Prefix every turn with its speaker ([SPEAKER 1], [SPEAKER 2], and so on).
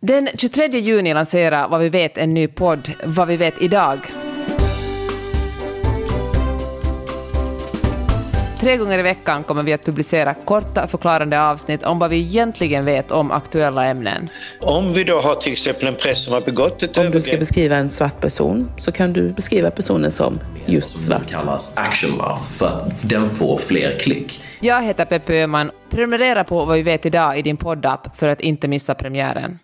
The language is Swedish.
[SPEAKER 1] Den 23 juni lanserar Vad vi vet en ny podd, Vad vi vet idag. Tre gånger i veckan kommer vi att publicera korta förklarande avsnitt om vad vi egentligen vet om aktuella ämnen.
[SPEAKER 2] Om vi då har till exempel en präst som har begått ett
[SPEAKER 3] Om du ska beskriva en svart person så kan du beskriva personen som just
[SPEAKER 4] som
[SPEAKER 3] svart.
[SPEAKER 4] kallas action mouth för att den får fler klick.
[SPEAKER 1] Jag heter Peppe Öhman. Prenumerera på Vad vi vet idag i din poddapp för att inte missa premiären.